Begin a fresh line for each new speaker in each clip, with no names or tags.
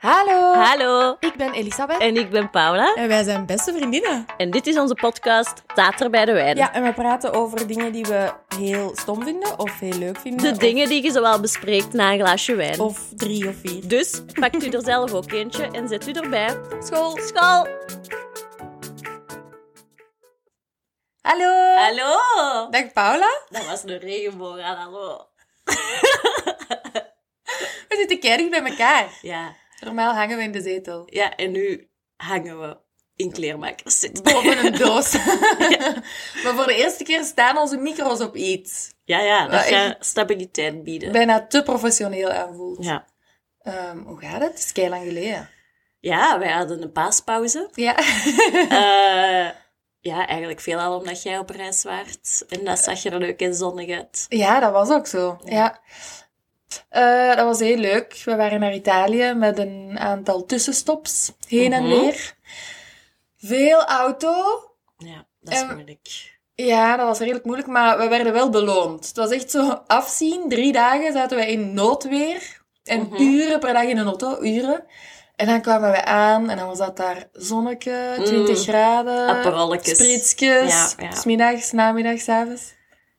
Hallo,
Hallo,
ik ben Elisabeth
en ik ben Paula.
en wij zijn beste vriendinnen.
En dit is onze podcast Tater bij de Wijn.
Ja, en we praten over dingen die we heel stom vinden of heel leuk vinden.
De
of-
dingen die je zowel bespreekt na een glaasje wijn.
Of drie of vier.
Dus pakt u er zelf ook eentje en zet u erbij.
school.
School!
Hallo.
Hallo!
Dag Paula.
Dat was een regenboog aan, hallo.
We zitten keihard bij elkaar.
Ja,
Normaal hangen we in de zetel.
ja, en nu hangen we in kleermakers
Boven een doos. maar voor de eerste keer staan onze micro's op iets.
Ja, ja, dat
Maar
gaat stabiliteit bieden.
Bijna te professioneel aanvoelt.
Ja.
Ehm, hoe gaat het? Het is kei lang geleden.
ja, wij hadden een paaspauze.
Ja.
Eh, ja, eigenlijk veelal omdat jij op reis waart. En dat zag er leuk en zonnig uit.
Ja, dat was ook zo. Ja. Eh, dat was heel leuk. We waren naar Italië met een aantal tussenstops heen
Mhm.
en weer. Veel auto.
Ja, dat is
En-
moeilijk.
Ja, dat was redelijk moeilijk, maar we werden wel beloond. Het was echt zo afzien. Drie dagen zaten wij in noodweer. En
Mhm.
uren per dag in een auto, uren. En dan kwamen we aan en dan was dat daar zonnetje,
Mm.
20 graden.
Aperolletjes.
Sprietjes.
Ja, ja.
Smiddags, namiddags, avonds.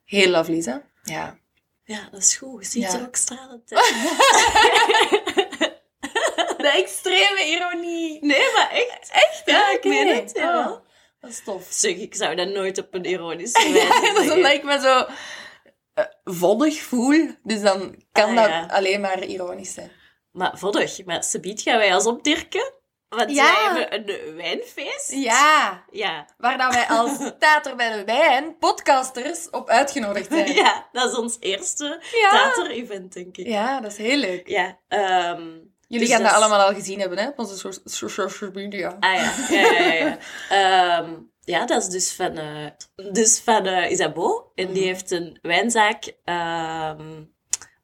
Heel lovely, hè? Ja.
Ja, dat is goed. Je ziet
Ja.
er ook stralend uit.
De extreme ironie.
Nee, maar echt. Echt? Ja, ik
Oké.
meen het.
Oh,
Ja.
dat is tof.
Zeg, ik zou dat nooit op een ironische wijze
Ja, dat is
zeggen.
omdat ik me zo eh, voddig voel. Dus dan kan
Ah,
dat
ja.
alleen maar ironisch zijn.
Maar voddig, maar subiet gaan wij als opdirken. Want
Ja.
wij hebben een eh, wijnfeest.
Ja,
Ja.
waar dan wij als Tater bij de Wijn podcasters op uitgenodigd zijn.
Ja, Ah. dat is ons eerste
ja.
theater-event, denk ik.
Ja, dat is heel leuk.
Ja, ehm,
Jullie
Dus
gaan
dat
dat
is-
allemaal al gezien hebben, hè? Op onze so- so- social media.
ah ja, ja, ja, ja. ja. Ehm, ja, dat is dus van, eh, dus van eh, Isabeau. En die
Mhm.
heeft een wijnzaak ehm,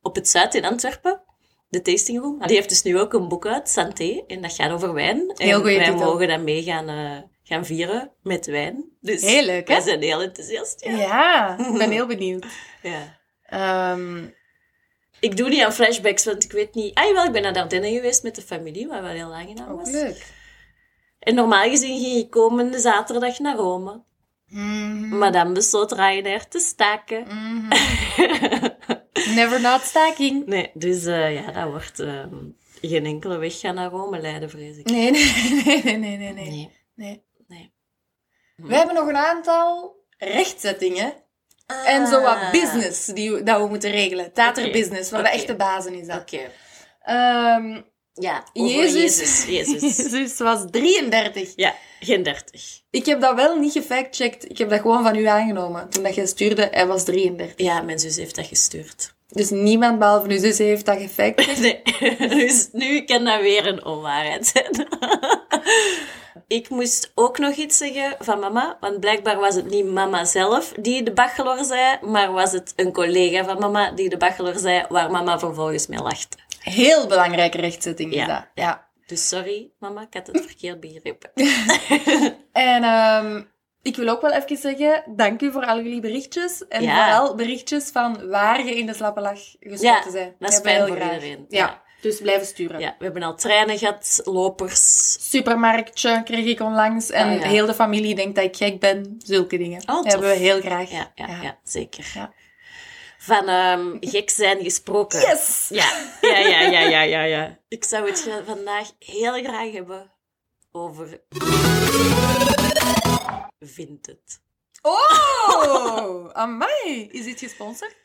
op het zuid in Antwerpen. De Tasting Room. Die heeft dus nu ook een boek uit, Santé. En dat gaat over wijn. En
Heel goeie
wij
titel.
mogen dat mee gaan, eh, gaan vieren met wijn. Dus
Heel leuk, hè?
wij zijn heel enthousiast. Ja.
Ja, ik ben heel benieuwd.
Ja.
Ehm,
Ik doe niet aan flashbacks, want ik weet niet... Ah, jawel, ik ben naar de Ardennen geweest met de familie, wat wel heel aangenaam
ook
was.
leuk.
En normaal gezien ging ik komende zaterdag naar Rome.
Mhm.
Maar dan besloot Ryanair te staken.
Mhm. Never not staking.
nee, dus eh, ja, dat wordt ehm, geen enkele weg gaan naar Rome leiden, vrees ik.
Nee, nee, nee, nee, nee, nee. nee. Nee.
Nee.
We hebben nog een aantal rechtzettingen Ah. en zo wat business die we, dat we moeten regelen. Tater
Ah. Oké.
business, wat
Oké.
de echte bazen is dat.
Ah, Oké.
Ehm,
Ja, over
Jezus.
Jezus. Jezus.
Jezus was 33.
ja, geen dertig.
Ik heb dat wel niet gefactcheckt. Ik heb dat gewoon van u aangenomen. Toen dat jij stuurde, hij was 33.
Ja, mijn zus heeft dat gestuurd.
Dus niemand behalve uw zus heeft dat gefactcheckt.
Nee, dus nu kan dat weer een onwaarheid zijn. Ik moest ook nog iets zeggen van mama, want blijkbaar was het niet mama zelf die de bachelor zei, maar was het een collega van mama die de bachelor zei, waar mama vervolgens mee lachte.
Heel belangrijke rechtzetting is
Ja.
dat. Ja.
Dus sorry, mama, ik had het verkeerd begrepen.
En ehm, ik wil ook wel even zeggen, dank u voor al jullie berichtjes. En
Ja.
vooral berichtjes van waar je in de slappe lach
Ja,
geschoten bent.
dat is
Hebben we heel
fijn voor
graag.
iedereen.
Ja. dus blijven sturen.
Ja, we hebben al treinen gehad, lopers.
Supermarktje kreeg ik onlangs. En
Ah, ja. Oh,
heel de familie denkt dat ik gek ben. Zulke dingen.
tof.
hebben we heel graag.
Ja, ja, ja. zeker.
Ja.
Van ehm, gek zijn gesproken.
Yes!
Ja, ja, ja, ja, ja, ja, ja. Ik zou het gra- vandaag heel graag hebben over. Vindt het.
Oh! Amai! Is dit gesponsord?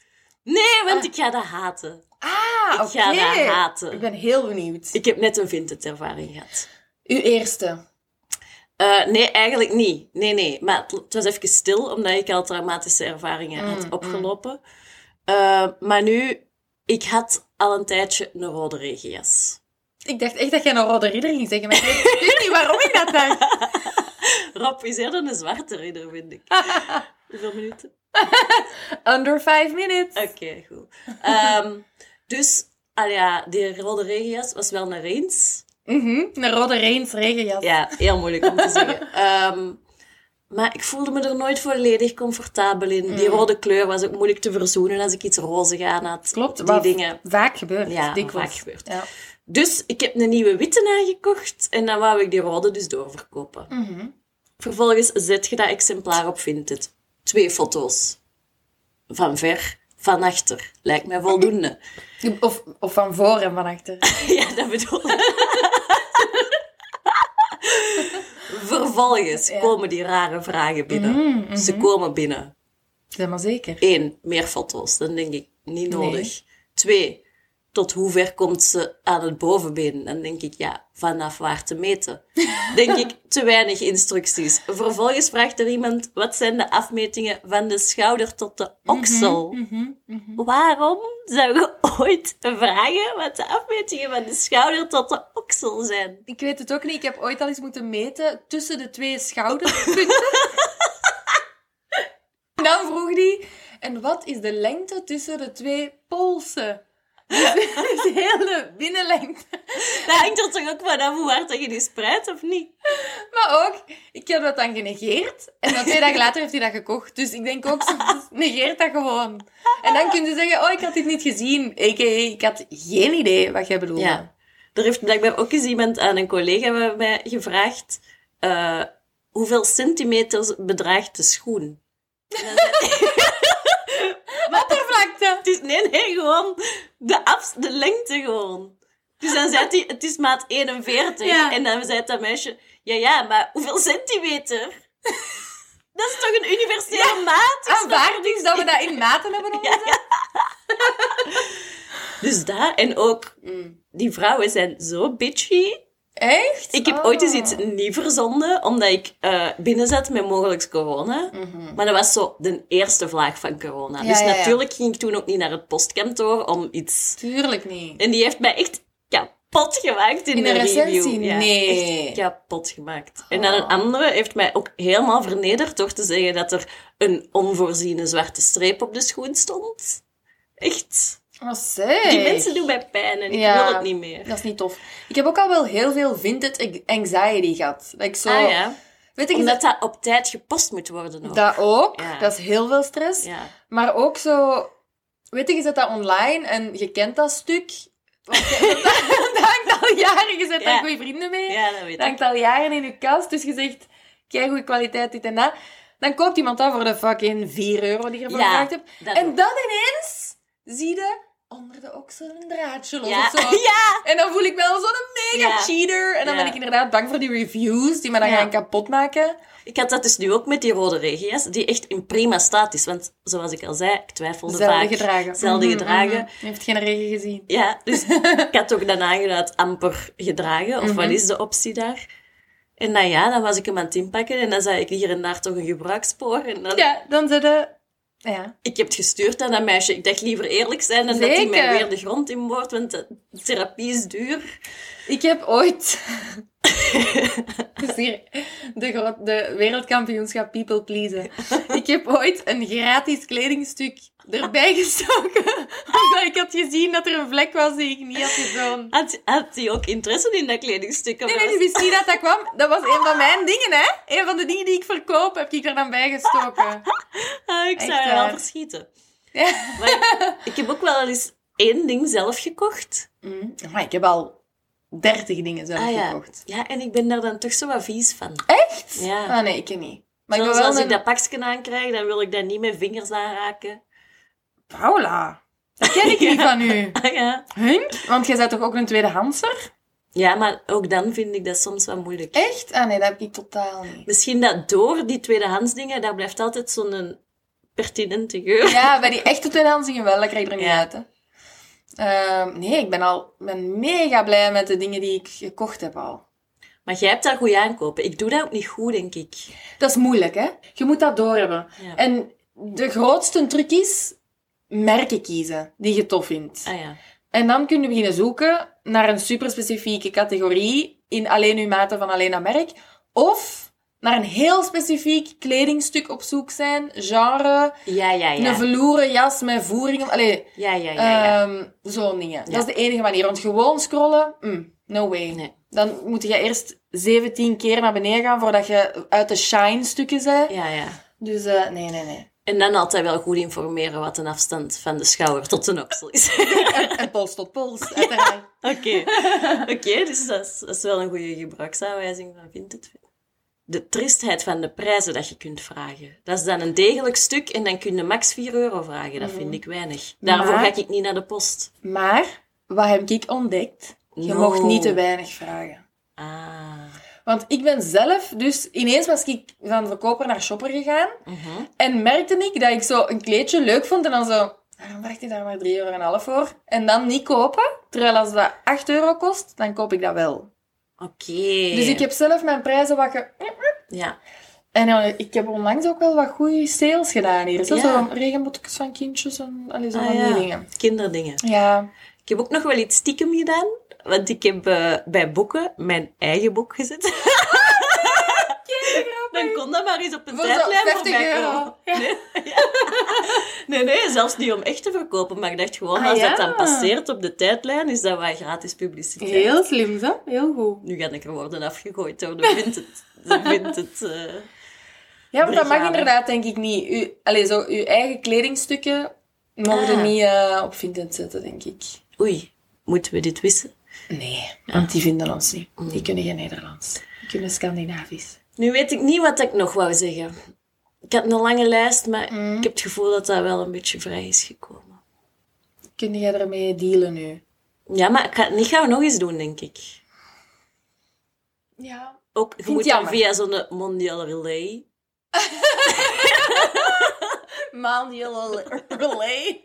Nee, want ik ga dat haten.
Ah,
Ik ga dat haten.
Ik ben heel benieuwd.
Ik heb net een Vindt het ervaring gehad.
Uw eerste.
Eh, nee, eigenlijk niet. Nee, nee. Maar het, het was even stil, omdat ik al traumatische ervaringen
Mm,
had
mm.
opgelopen. Eh, maar nu, ik had al een tijdje een rode regenjas.
Ik dacht echt dat jij een rode ridder ging zeggen, maar ik weet- ik weet niet waarom ik dat dacht.
Rob is eerder een zwarte ridder, vind ik. Hoeveel minuten?
Under five minutes.
Oké, goed. Ehm, dus, al ja, die rode regenjas was wel een reens.
Mhm, Een rode reens regenjas.
Ja, heel moeilijk om te zeggen. Ehm, maar ik voelde me er nooit volledig comfortabel in. Die
Mm.
rode kleur was ook moeilijk te verzoenen als ik iets rozig aan had.
Klopt,
die
wat
dingen.
vaak gebeurt.
Ja,
dikwijls.
vaak gebeurt.
Ja.
Dus ik heb een nieuwe witte aangekocht en dan wou ik die rode dus doorverkopen.
Mhm.
Vervolgens zet je dat exemplaar op Vinted. Twee foto's. Van ver, van achter. Lijkt mij voldoende.
Of, of van voor en van achter.
ja, dat bedoel ik. Vervolgens
Ja.
komen die rare vragen binnen.
Mm,
Ze komen binnen.
Zeg maar zeker.
Eén, meer foto's. Dan denk ik,
Nee.
niet nodig. Twee, tot hoe ver komt ze aan het bovenbeen? Dan denk ik, ja, vanaf waar te meten. Denk ik, te weinig instructies. Vervolgens vraagt er iemand, wat zijn de afmetingen van de schouder tot de oksel? Waarom zou je ooit vragen wat de afmetingen van de schouder tot de oksel zijn?
Ik weet het ook niet. Ik heb ooit al eens moeten meten tussen de twee schouderpunten. en dan vroeg die, en wat is de lengte tussen de twee polsen? Dus de hele binnenlengte.
Dat hangt er toch ook vanaf hoe hard dat je die spreidt, of niet?
Maar ook, ik heb dat dan genegeerd. En dan twee dagen later heeft hij dat gekocht. Dus ik denk ook, soms negeert dat gewoon. En dan kun je zeggen, oh, ik had dit niet gezien. A.k.a. ik had geen idee wat jij bedoelde.
Ja. Er heeft blijkbaar ook eens iemand aan een collega bij mij gevraagd eh, hoeveel centimeters bedraagt de schoen?
Oppervlakte.
Het is, nee, nee, gewoon de, afs- de lengte gewoon. Dus dan zei hij, het is maat 41.
Ja.
En dan zei dat meisje, ja, ja, maar hoeveel centimeter? Dat is toch een universele maat? Is dat-
Aanvaard is dat we dat in maten hebben omgezet.
Dus daar, en ook,
Mm.
die vrouwen zijn zo bitchy.
Echt?
Ik heb
Oh.
ooit eens iets niet verzonden, omdat ik eh binnen zat met mogelijk corona.
Oh.
Maar dat was zo de eerste vlaag van corona.
Ja,
dus
ja, ja.
natuurlijk ging ik toen ook niet naar het postkantoor om iets...
Tuurlijk niet.
En die heeft mij echt kapot gemaakt in,
In
de
een
review.
recensie?
Ja,
Nee. Oh.
Echt kapot gemaakt. En dan een andere heeft mij ook helemaal vernederd door te zeggen dat er een onvoorziene zwarte streep op de schoen stond. Echt.
Wat Oh, zeg?
Die mensen doen mij pijn en ik
Ja.
wil het niet meer.
Dat is niet tof. Ik heb ook al wel heel veel vintage anxiety gehad. Dat ik zo...
Ah ja.
Weet ik
Omdat dat op tijd gepost moet worden ook.
dat... Dat ook.
Ja.
Dat is heel veel stress.
Ja.
Maar ook zo... Weet je, je zet dat online en je kent dat stuk. Want je- dat, dat hangt al jaren. Je zet
Ja.
daar goede vrienden mee.
ja, dat weet
Dat
ik.
hangt al jaren in je kast. Dus je zegt, kijk goede kwaliteit, dit en dat. Dan koopt iemand dat voor de fucking 4 euro die je ervoor
Ja,
gevraagd hebt.
dat
en dan ineens zie je onder de oksel een draadje los
Ja.
of zo.
ja.
En dan voel ik me al zo'n mega
Ja.
cheater. En dan
Ja.
ben ik inderdaad bang voor die reviews die me dan
Ja.
gaan kapotmaken.
Ik had dat dus nu ook met die rode regia's, die echt in prima staat is. Want zoals ik al zei, ik twijfelde
Zelfde
vaak.
gedragen.
Zelden
Mhm,
gedragen.
mhm. Je hebt geen regen gezien.
Ja, dus ik had ook daarna inderdaad amper gedragen. Of wat
Mhm.
is de optie daar? En nou ja, dan was ik hem aan het inpakken en dan zei ik hier en daar toch een gebruikspoor. En dan,
Ja, dan zit je... Ja.
Ik heb het gestuurd aan dat meisje. Ik dacht liever eerlijk zijn dan dat hij mij
Zeker.
weer de grond in boort, want de therapie is duur.
Ik heb ooit... Dus hier, de, gro- de wereldkampioenschap People Pleasen. Ik heb ooit een gratis kledingstuk erbij gestoken. Omdat ik had gezien dat er een vlek was die ik niet had gezien.
Had, had hij ook interesse in dat kledingstuk? of
Nee,
was-
nee, die wist niet dat dat kwam. Dat was een van mijn dingen, hè. Een van de dingen die ik verkoop, heb ik er dan bij gestoken.
Ah, ik zou
Echt
er wel
waar.
verschieten.
Ja.
Maar ik- ik heb ook wel eens één ding zelf gekocht.
Mm. Maar ik heb al dertig dingen zelf
Ah, ja.
gekocht.
Ja, en ik ben daar dan toch zo wat vies van.
Echt?
Ja.
Ah, nee, ik ken niet. Maar ik
Zoals
ben wel
als
een...
ik dat pakje aankrijg, dan wil ik dat niet met vingers aanraken.
Paula, dat ken ik niet van u.
Ah, ja.
Hunk? Want jij bent toch ook een tweede Hanser?
ja, maar ook dan vind ik dat soms wel moeilijk.
Echt? Ah nee, dat heb ik totaal niet.
Misschien dat door die tweedehands dingen, daar blijft altijd zo'n pertinente geur.
Ja, bij die echte tweedehands dingen wel, dat krijg je er niet
Ja.
uit, hè. Ehm, nee, ik ben al ben mega blij met de dingen die ik gekocht heb al.
Maar jij hebt daar goed aankopen. Ik doe dat ook niet goed, denk ik.
Dat is moeilijk, hè? Je moet dat doorhebben.
Ja.
En de grootste truc is merken kiezen die je tof vindt.
Ah ja.
En dan kun je beginnen zoeken naar een superspecifieke categorie in alleen uw maten van alleen dat merk. Of naar een heel specifiek kledingstuk op zoek zijn, genre,
Ja, Ah, ja,
een
ja.
veloeren jas met voering. Allee,
Ja, ja, ja. ja.
ehm, zo'n dingen.
Ja.
Dat is de enige manier. Want gewoon scrollen, mm, no way.
Nee.
Dan moet je eerst 17 keer naar beneden gaan voordat je uit de shine stukken bent.
Ja, ja.
Dus eh, nee, nee, nee.
En dan altijd wel goed informeren wat een afstand van de schouder tot de oksel is.
En, en pols tot pols, uiteraard.
Oké, oké, dus dat is, dat is wel een goede gebruiksaanwijzing van Vinted. De tristheid van de prijzen dat je kunt vragen. Dat is dan een degelijk stuk en dan kun je max 4 euro vragen. Dat vind ik weinig. Daarvoor
Mhm. Maar-
ga ik niet naar de post.
Maar, wat heb ik ontdekt? Je
No.
mocht niet te weinig vragen.
Ah.
Want ik ben zelf, dus ineens was ik van verkoper naar shopper gegaan.
Mhm.
En merkte ik dat ik zo een kleedje leuk vond en dan zo... Waarom bracht hij daar maar 3,5 euro voor? En dan niet kopen. Terwijl als dat 8 euro kost, dan koop ik dat wel.
Oké.
Dus ik heb zelf mijn prijzen wat ge...
Ja.
En eh, ik heb onlangs ook wel wat goede sales gedaan hier. Zo,
Ja.
Zo regenbotjes van kindjes en allee, zo
Ah,
van
ja.
die dingen.
Kinderdingen.
Ja.
Ik heb ook nog wel iets stiekem gedaan. Want ik heb eh, bij boeken mijn eigen boek gezet. Dan kon dat maar eens op een
Voor zo'n
tijdlijn
50
voorbij
euro.
komen. Nee, ja. nee, nee, zelfs niet om echt te verkopen. Maar ik dacht gewoon,
Ah,
als
ja.
dat dan passeert op de tijdlijn, is dat wel gratis publiciteit.
Heel slim, zo. Heel goed.
Nu ga ik er worden afgegooid door de Vinted. De Vinted eh.
Ja, maar dat mag
Brigade.
inderdaad denk ik niet. U, allee, zo, uw eigen kledingstukken mogen
Ah.
niet eh, op Vinted zetten, denk ik.
Oei, moeten we dit wissen?
Nee, want die vinden ons niet. Die kunnen geen Nederlands. Die kunnen Scandinavisch.
Nu weet ik niet wat ik nog wou zeggen. Ik had een lange lijst, maar
Mm.
ik heb het gevoel dat dat wel een beetje vrij is gekomen.
Kun jij ermee dealen nu?
Ja, maar ik ga het niet gauw nog eens doen, denk ik.
Ja.
Ook, je
Vind
moet
het
dan
jammer.
via zo'n mondial relay.
Mondial relay.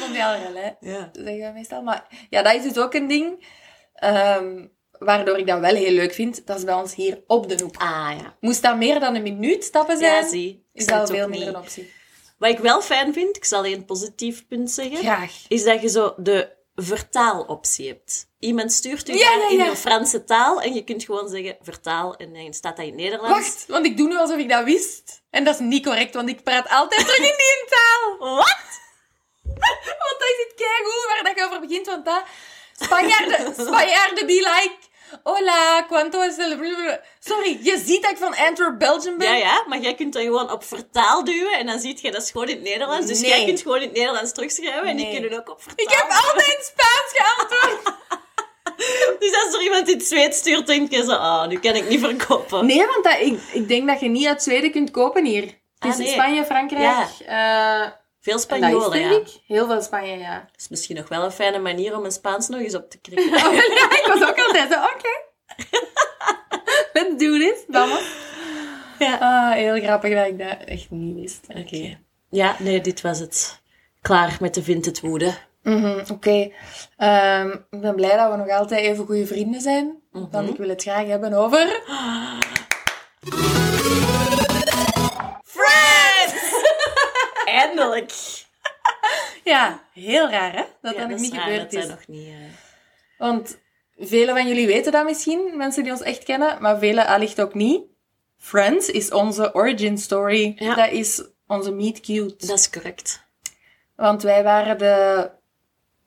Mondial relay.
Ja.
Dat zeggen we meestal. Maar ja, dat is dus ook een ding. ehm, waardoor ik dat wel heel leuk vind. Dat is bij ons hier op de hoek.
Ah ja.
Moest dat meer dan een minuut stappen zijn,
Ja, zie. Ik
is
snap
dat
het ook
veel
niet.
minder een optie.
Wat ik wel fijn vind, ik zal één positief punt zeggen,
Graag.
is dat je zo de vertaaloptie hebt. Iemand stuurt u
Ja,
dan
ja,
in
ja.
de Franse taal en je kunt gewoon zeggen vertaal en dan staat dat in het Nederlands.
Wacht, want ik doe nu alsof ik dat wist. En dat is niet correct, want ik praat altijd terug in die taal.
Wat?
Want dat is het keigoed waar dat je over begint, want dat... Spanjaarden, Spanjaarden be like... Hola, cuánto es el... blablabla." Sorry, je ziet dat ik van Antwerp, Belgium ben.
Ja, ja, maar jij kunt dat gewoon op vertaal duwen en dan ziet je dat is gewoon in het Nederlands. Dus
Nee.
jij kunt gewoon in het Nederlands terugschrijven en
Nee.
die kunnen ook op vertaal.
Ik heb altijd in Spaans geantwoord.
Dus als er iemand in het Zweeds stuurt, denk je zo, ah, nu kan ik niet verkopen.
Nee, want dat, ik, ik denk dat je niet uit Zweden kunt kopen hier. Het is
Ah, nee.
Spanje, Frankrijk... eh,
Veel
en dat is,
Spanjolen,
denk
ja.
ik. Heel veel Spanje, ja.
is misschien nog wel een fijne manier om een Spaans nog eens op te krikken.
Oh, ja, ik was ook altijd zo, oké. Let's do this, dames.
Ja.
Ah, heel grappig dat ik dat echt niet wist. Oké.
Ja, nee, dit was het. Klaar met de vindt het woede.
Mhm, Oké. Ehm, ik ben blij dat we nog altijd even goede vrienden zijn. Want ik wil het graag hebben over...
Friends! Eindelijk.
Ja, heel raar hè? Dat
Ja,
dat nog
is
niet
raar
gebeurd
dat
is.
dat nog niet... eh,
Want velen van jullie weten dat misschien, mensen die ons echt kennen. Maar velen allicht ook niet. Friends is onze origin story.
Ja.
Dat is onze meet cute.
Dat is correct.
Want wij waren de...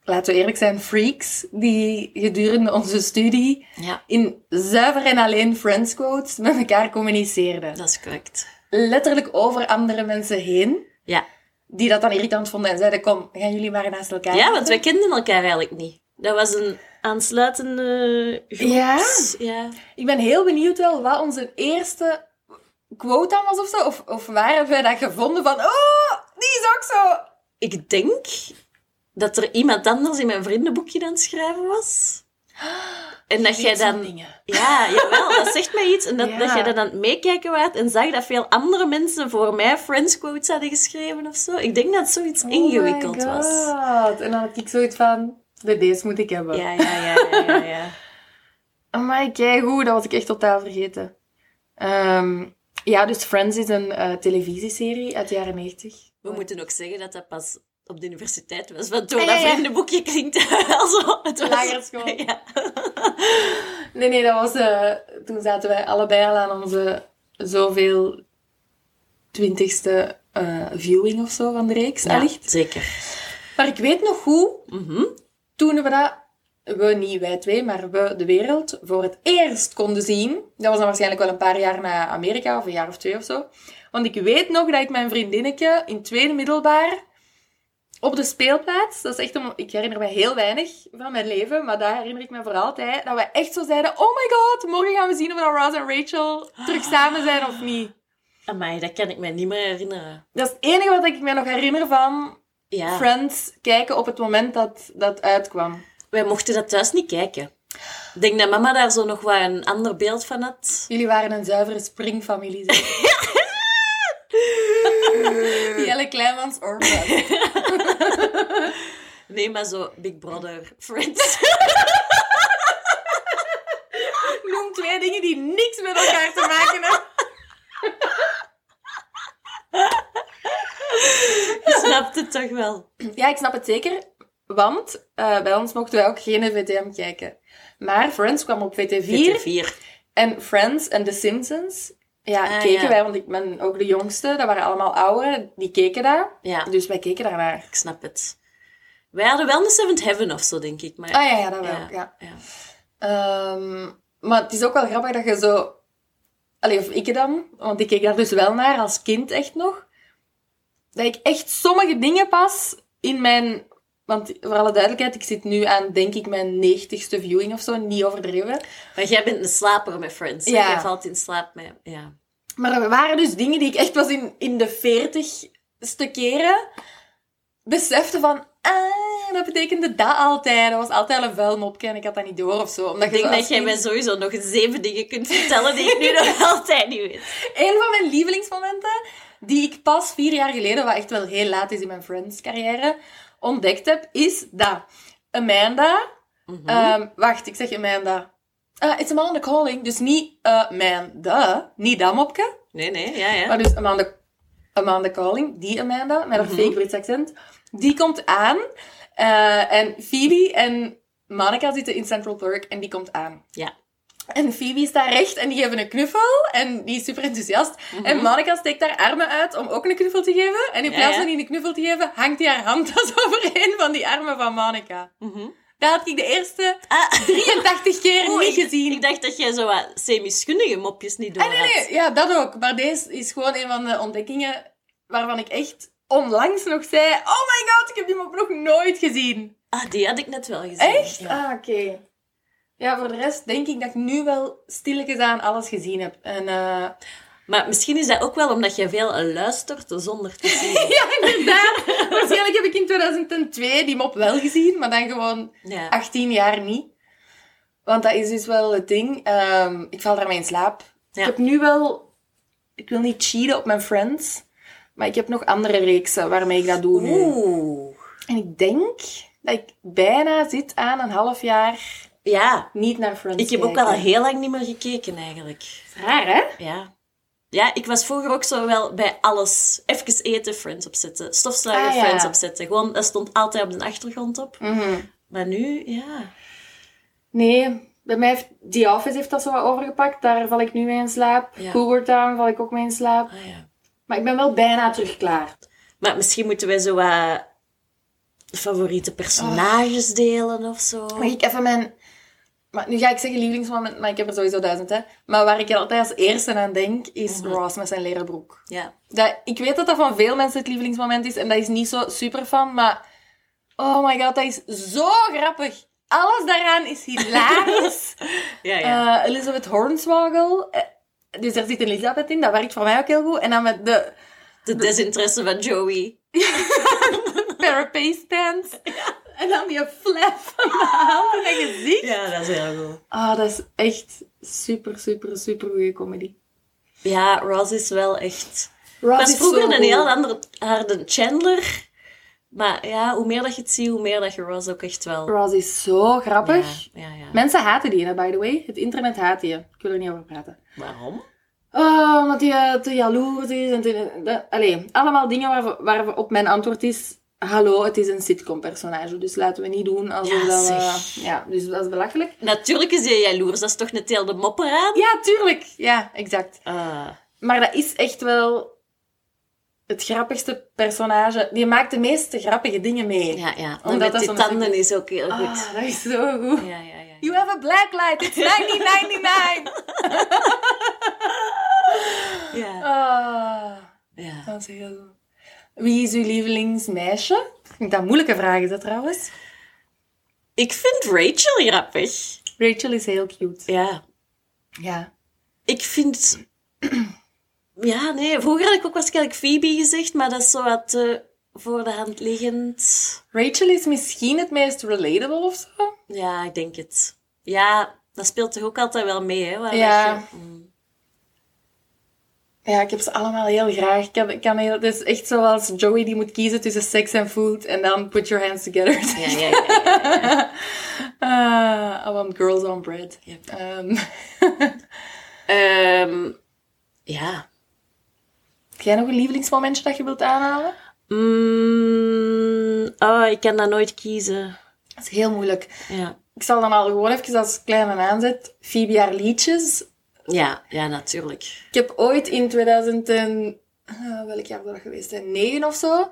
Laten we eerlijk zijn, freaks die gedurende onze studie
Ja,
in zuiver en alleen friends quotes met elkaar communiceerden.
dat is correct.
letterlijk over andere mensen heen.
Ja,
Die dat dan irritant vonden en zeiden, kom, gaan jullie maar naast elkaar
ja want
zitten.
wij kenden elkaar eigenlijk niet. Dat was een aansluitende groep.
Ja?
ja.
Ik ben heel benieuwd wel wat onze eerste quote dan was of zo. Of, of waar hebben wij dat gevonden van, oh, die is ook zo.
Ik denk dat er iemand anders in mijn vriendenboekje aan het schrijven was. En dat jij
Dit soort
dan...
dingen.
Ja, jawel, dat zegt mij iets. En dat,
Ja.
dat jij dan aan het meekijken was en zag dat veel andere mensen voor mij Friends quotes hadden geschreven of zo. Ik denk dat zoiets ingewikkeld
Oh my
was.
God. En dan had ik zoiets van, de deze moet ik hebben. Oh
Ja, ja, ja, ja, ja. ja.
Amai, keigoed, dat was ik echt totaal vergeten. Ehm, ja, dus Friends is een eh, televisieserie uit de jaren 90.
We moeten ook zeggen dat dat pas op de universiteit was, want door
Oh. Ah, ja,
dat
ja.
vriendenboekje klinkt dat wel zo. Het was...
Lagere school.
Ja.
Nee, nee, dat was... eh, toen zaten wij allebei al aan onze zoveel twintigste eh, viewing of zo van de reeks,
Ja,
allicht.
zeker.
Maar ik weet nog hoe,
Mhm.
toen we dat... We, niet wij twee, maar we, de wereld, voor het eerst konden zien. Dat was dan waarschijnlijk wel een paar jaar na Amerika, of een jaar of twee of zo. Want ik weet nog dat ik mijn vriendinnetje in tweede middelbaar op de speelplaats, dat is echt om, ik herinner me heel weinig van mijn leven, maar daar herinner ik me voor altijd, dat we echt zo zeiden, oh my god, morgen gaan we zien of dat Ross en Rachel terug samen zijn of niet.
Amai, dat kan ik me niet meer herinneren.
Dat is het enige wat ik me nog herinner van
Ja,
Friends kijken op het moment dat dat uitkwam.
wij mochten dat thuis niet kijken. Ik denk dat mama daar zo nog wel een ander beeld van had.
Jullie waren een zuivere springfamilie. zeg. Jelle Kleinmans Orphan.
Nee, maar zo Big Brother, Friends.
Noem twee dingen die niks met elkaar te maken hebben.
Je snapt het toch wel?
Ja, ik snap het zeker. Want eh, bij ons mochten wij ook geen VTM kijken. Maar Friends kwam op VT4.
vier.
En Friends en The Simpsons. Ja,
Ah,
keken
ja.
wij, want ik ben ook de jongste. Dat waren allemaal ouderen. Die keken daar.
Ja,
Dus wij keken daarnaar.
ik snap het. Wij hadden wel een Seventh Heaven of zo, denk ik. Maar
Ah ja, ja dat wel.
Ja.
ja.
ja.
Ehm, maar het is ook wel grappig dat je zo... Allee, of ik dan, want ik keek daar dus wel naar als kind echt nog. Dat ik echt sommige dingen pas in mijn... Want voor alle duidelijkheid, ik zit nu aan, denk ik, mijn negentigste viewing of zo. Niet overdreven.
Maar jij bent een slaper met Friends. hè?
Ja.
Jij valt in slaap met... Ja.
Maar er waren dus dingen die ik echt pas in, in de veertigste keren besefte van... Ah, dat betekende dat altijd. Dat was altijd al een vuil mopje en ik had dat niet door of zo. Omdat
Ik denk
zo
dat
als
jij
kind-
mij sowieso nog zeven dingen kunt vertellen die ik nu nog altijd niet weet.
Een van mijn lievelingsmomenten, die ik pas vier jaar geleden, wat echt wel heel laat is in mijn Friends-carrière, ontdekt heb, is dat Amanda... ehm, wacht, ik zeg Amanda. Ah, it's Amanda Calling, dus niet Amanda, niet dat mopje,
Nee, nee, ja, ja.
maar dus Amanda, Amanda Calling, die Amanda, met haar fake Brits accent, die komt aan. eh, en Phoebe en Monica zitten in Central Park en die komt aan.
Ja.
En Phoebe staat recht en die geven een knuffel. En die is super enthousiast. En Monica steekt haar armen uit om ook een knuffel te geven. En in
Mhm. Ja,
plaats
ja.
van die een knuffel te geven, hangt die haar handtas overheen van die armen van Monica. Dat had ik de eerste
Mhm. Ah.
83 keer
Oeh,
niet
ik-
gezien.
Ik dacht dat jij zo wat semi-schunnige mopjes niet door
Ah, nee, nee, ja, dat ook. Maar deze is gewoon een van de ontdekkingen waarvan ik echt onlangs nog zei... Oh my god, ik heb die mop nog nooit gezien.
Ah, die had ik net wel gezien.
Echt?
Ja.
Ah, oké. Ja, voor de rest denk ik dat ik nu wel stilletjes aan alles gezien heb. En... eh,
Maar misschien is dat ook wel omdat jij veel luistert zonder te zien.
Ja, inderdaad. Waarschijnlijk heb ik in 2002 die mop wel gezien, maar dan gewoon
Ja.
18 jaar niet. Want dat is dus wel het ding. Ehm, ik val daarmee in slaap.
Ja.
Ik heb nu wel... Ik wil niet cheaten op mijn friends, maar ik heb nog andere reeksen waarmee ik dat doe nu.
Oeh.
En ik denk dat ik bijna zit aan een half jaar
Ja.
niet naar friends
Ik heb ook
kijken.
wel al heel lang niet meer gekeken eigenlijk.
Raar, hè?
Ja. Ja, ik was vroeger ook zo wel bij alles. Even eten, Friends opzetten. Stofzuiger,
Ah, ja.
Friends opzetten. Gewoon, dat stond altijd op de achtergrond op.
Mhm.
Maar nu, ja.
Nee, bij mij heeft The Office heeft dat zo wat overgepakt. Daar val ik nu mee in slaap.
Ja.
Cougar Town val ik ook mee in slaap.
Ah, ja.
Maar ik ben wel bijna terug klaar.
Maar misschien moeten wij zo wat favoriete personages
Oh.
delen of zo.
Mag ik even mijn... Maar nu ga ik zeggen lievelingsmoment, maar ik heb er sowieso duizend, hè. Maar waar ik altijd als eerste aan denk, is Ross met zijn leren broek.
Ja.
Dat, ik weet dat dat van veel mensen het lievelingsmoment is, en dat is niet zo super van, maar... Oh my god, dat is zo grappig. Alles daaraan is hilarisch.
Ja,
Eh, Elizabeth Hornswoggle. eh, dus daar zit een Elizabeth in, dat werkt voor mij ook heel goed. En dan met de
De desinteresse van Joey.
parapet pants. En dan die flap van de hand en dat gezicht.
Ja, dat is heel goed.
Ah, dat is echt super, super, super goede comedy.
Ja, Ross is wel echt...
Ross
was vroeger een heel
goed.
andere harde Chandler. Maar ja, hoe meer dat je het ziet, hoe meer dat je Ross ook echt wel...
Ross is zo grappig.
Ja, ja, ja.
Mensen haten die, hè, by the way. Het internet haat die. Ik wil er niet over praten.
Waarom?
Oh, omdat hij eh, te jaloers is. En te, dat- allee, allemaal dingen waarvoor, waarop mijn antwoord is... Hallo, het is een sitcom-personage, dus laten we niet doen alsof
Ja,
dat we-
zeg.
Ja, dus dat is belachelijk.
Natuurlijk is hij jaloers. Dat is toch net heel de mopperaan?
Ja, tuurlijk. Ja, exact.
Ah.
Maar dat is echt wel het grappigste personage. Die maakt de meeste grappige dingen mee.
ja, ja.
Omdat
Omdat
dat
die
zo'n-
tanden is ook heel goed.
Ah, dat is zo goed.
Ja, ja, ja.
You have a black light, it's 1999.
ja.
Ah. gaan zeggen zo. Wie is uw lievelingsmeisje? Ik vind dat moeilijke vraag is dat trouwens.
Ik vind Rachel grappig.
Rachel is heel cute.
Ja.
Ja.
Ik vind... Ja, nee. Vroeger had ik ook waarschijnlijk Phoebe gezegd, maar dat is zo wat eh, voor de hand liggend.
Rachel is misschien het meest relatable of zo.
Ja, ik denk het. Ja, dat speelt toch ook altijd wel mee, hè? waar
Ja.
dat je- Mm.
Ja, ik heb ze allemaal heel graag. Ik kan, ik kan heel, het is echt zoals Joey die moet kiezen tussen seks en food en dan put your hands together.
Ja, ja, ja, ja.
Ah, I want girls on bread.
Yep.
Ehm,
Ehm, ja.
heb jij nog een lievelingsmomentje dat je wilt aanhalen?
Mm, oh, ik kan dat nooit kiezen.
Dat is heel moeilijk.
Ja,
Ik zal dan al gewoon even als kleine aanzet. Phoebe haar liedjes.
ja, ja natuurlijk.
Ik heb ooit in 2000 en... eh, welk jaar was dat geweest? hè? 9 of zo.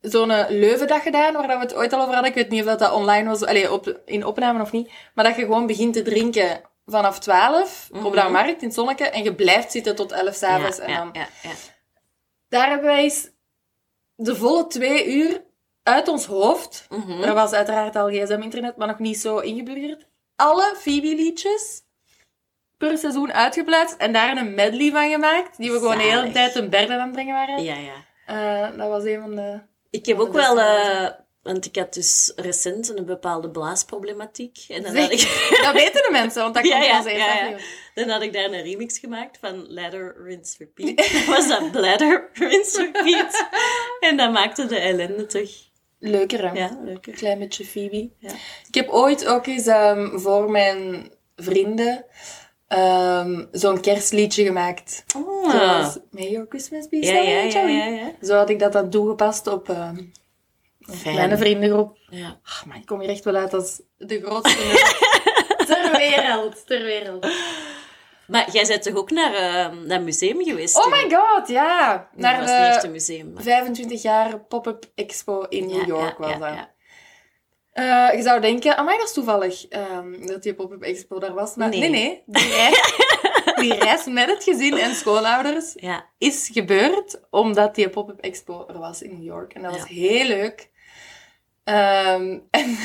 Zo'n eh, Leuvendag gedaan, waar dat we het ooit al over hadden. Ik weet niet of dat online was, allee, op, in opname of niet. Maar dat je gewoon begint te drinken vanaf 12 op de markt in het zonnetje. En je blijft zitten tot 11 s'avonds.
Mhm. ja,
en
ja,
dan...
ja, ja.
Daar hebben wij eens de volle twee uur uit ons hoofd.
Mhm.
Er was uiteraard al gsm-internet, maar nog niet zo ingeburgerd. Alle Phoebe-liedjes per seizoen uitgeplaatst en daar een medley van gemaakt, die we gewoon de hele
Zalig.
tijd een berg aan het brengen waren.
ja, ja.
Eh, dat was een van de...
Ik heb
de
ook
beste
wel... eh, want ik had dus recent een bepaalde blaasproblematiek. En dan had ik...
Dat weten de mensen, want dat
Ja,
komt in
ja,
onze eerste
ja, ja.
aflevering.
Dan had ik daar een remix gemaakt van Ladder, Rinse, Repeat. Was dat Bladder, Rinse, Repeat? En dat maakte de ellende toch...
Leuker, hè?
Ja, leuker.
Klein beetje Phoebe.
Ja.
Ik heb ooit ook eens ehm, voor mijn vrienden ehm, zo'n kerstliedje gemaakt.
Ah.
Zoals May Your Christmas Be
Ja,
Starry,
ja, ja,
Joey.
ja, ja.
Zo had ik dat dan toegepast op ehm,
Fijn.
mijn vriendengroep.
Ja.
Ach, Ah, maar ik kom hier echt wel uit als de grootste nerd ter wereld. Ter wereld.
Maar jij bent toch ook naar eh, dat museum geweest?
Oh
toen?
my god, ja.
Nee, dat was niet
Naar
echt
de
een museum. maar-
25 jaar pop-up expo in
Ja,
New York was
ja,
dat.
ja, ja.
Eh, je zou denken, amai, dat is toevallig ehm, dat die pop-up expo daar was. Maar nee,
Nee.
nee. die, reis, die reis met het gezin en schoonouders
Ja,
is gebeurd omdat die pop-up expo er was in New York. En dat was
Ja.
heel leuk. Ehm, en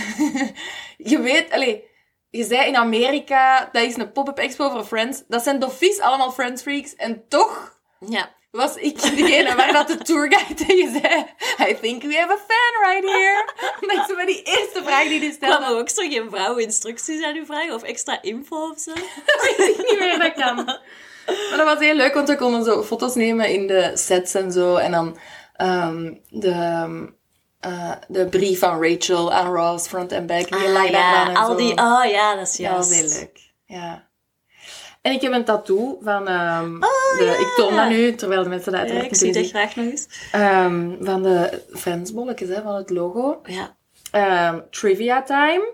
je weet, allee, je zei in Amerika, dat is een pop-up expo voor Friends. Dat zijn doffies allemaal Friends freaks. En toch
ja.
was ik degene waar dat de tourguide tegen zei, I think we have a fan right here. Dat is zo bij die eerste vraag die die
Kwamen
stelde.
er ook zo geen vrouwen instructies aan u vragen? Of extra info of
Ah,
zo?
weet ik niet meer, dat kan. Maar dat was heel leuk, want we konden zo foto's nemen in de sets en zo. En dan ehm, de, ehm, eh, de brief van Rachel aan Ross, front en back. Die lag
Ah,
daaraan
ja,
en
al
zo.
die... Oh ja, dat is
Ja, dat
juist.
was heel leuk. Ja. En ik heb een tattoo van... ehm,
Oh,
de,
ja.
Ik toon dat nu, terwijl de mensen dat
Ja,
uiteraard
ik
niet
zie dat
kunnen zien.
graag nog eens.
Ehm, van de Friends-bolletjes, hè, van het logo.
Ja.
Ehm, trivia time.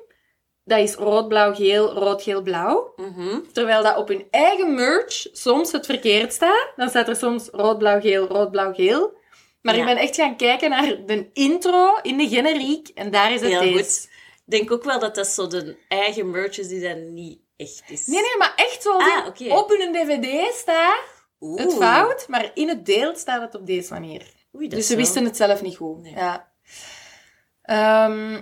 Dat is rood, blauw, geel, rood, geel, blauw.
Mhm.
Terwijl dat op hun eigen merch soms het verkeerd staat. Dan staat er soms rood, blauw, geel, rood, blauw, geel. Maar
Ja.
ik ben echt gaan kijken naar de intro in de generiek. En daar is het
Heel
deze.
goed. Ik denk ook wel dat dat zo de eigen merch is die dan niet echt is.
Nee, nee, maar echt zoals
Ah,
in-
oké.
op hun dvd staat
Oeh.
het fout. Maar in het deel staat het op deze manier.
Oei, dat
dus
is
ze
wel-
wisten het zelf niet goed.
Nee.
Ja. Ehm,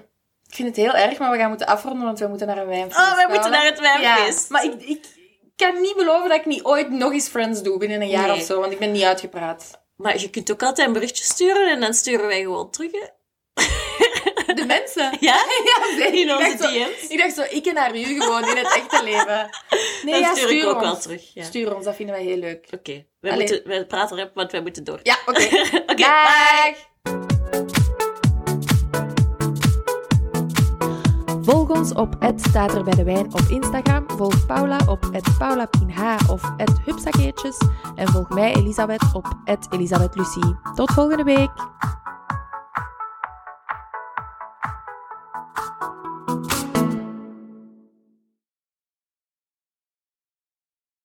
ik vind het heel erg, maar we gaan moeten afronden, want we moeten naar een wijnfeest.
Oh, wij moeten
Paula.
naar het wijnfeest.
Ja, maar ik, ik kan niet beloven dat ik niet ooit nog eens Friends doe binnen een jaar
Nee.
of zo, want ik ben niet uitgepraat.
Maar je kunt ook altijd een berichtje sturen en dan sturen wij gewoon terug. hè.
De mensen.
Ja?
Ja, nee,
In onze
ik dacht, zo,
DM's.
ik dacht zo, ik en haar u gewoon in het echte leven. Nee,
dan
ja,
stuur ik ook
ons.
wel terug. Ja.
Stuur ons, dat vinden wij heel leuk.
Oké, wij,
Allee.
moeten- wij praten erop, want wij moeten door.
Ja, oké.
Oké,
Dag.
Volg ons op het staat er bij de wijn op Instagram. Volg Paula op het paulapinh of het hupsakeertjes. En volg mij Elisabeth op het Elisabeth Lucie. Tot volgende week!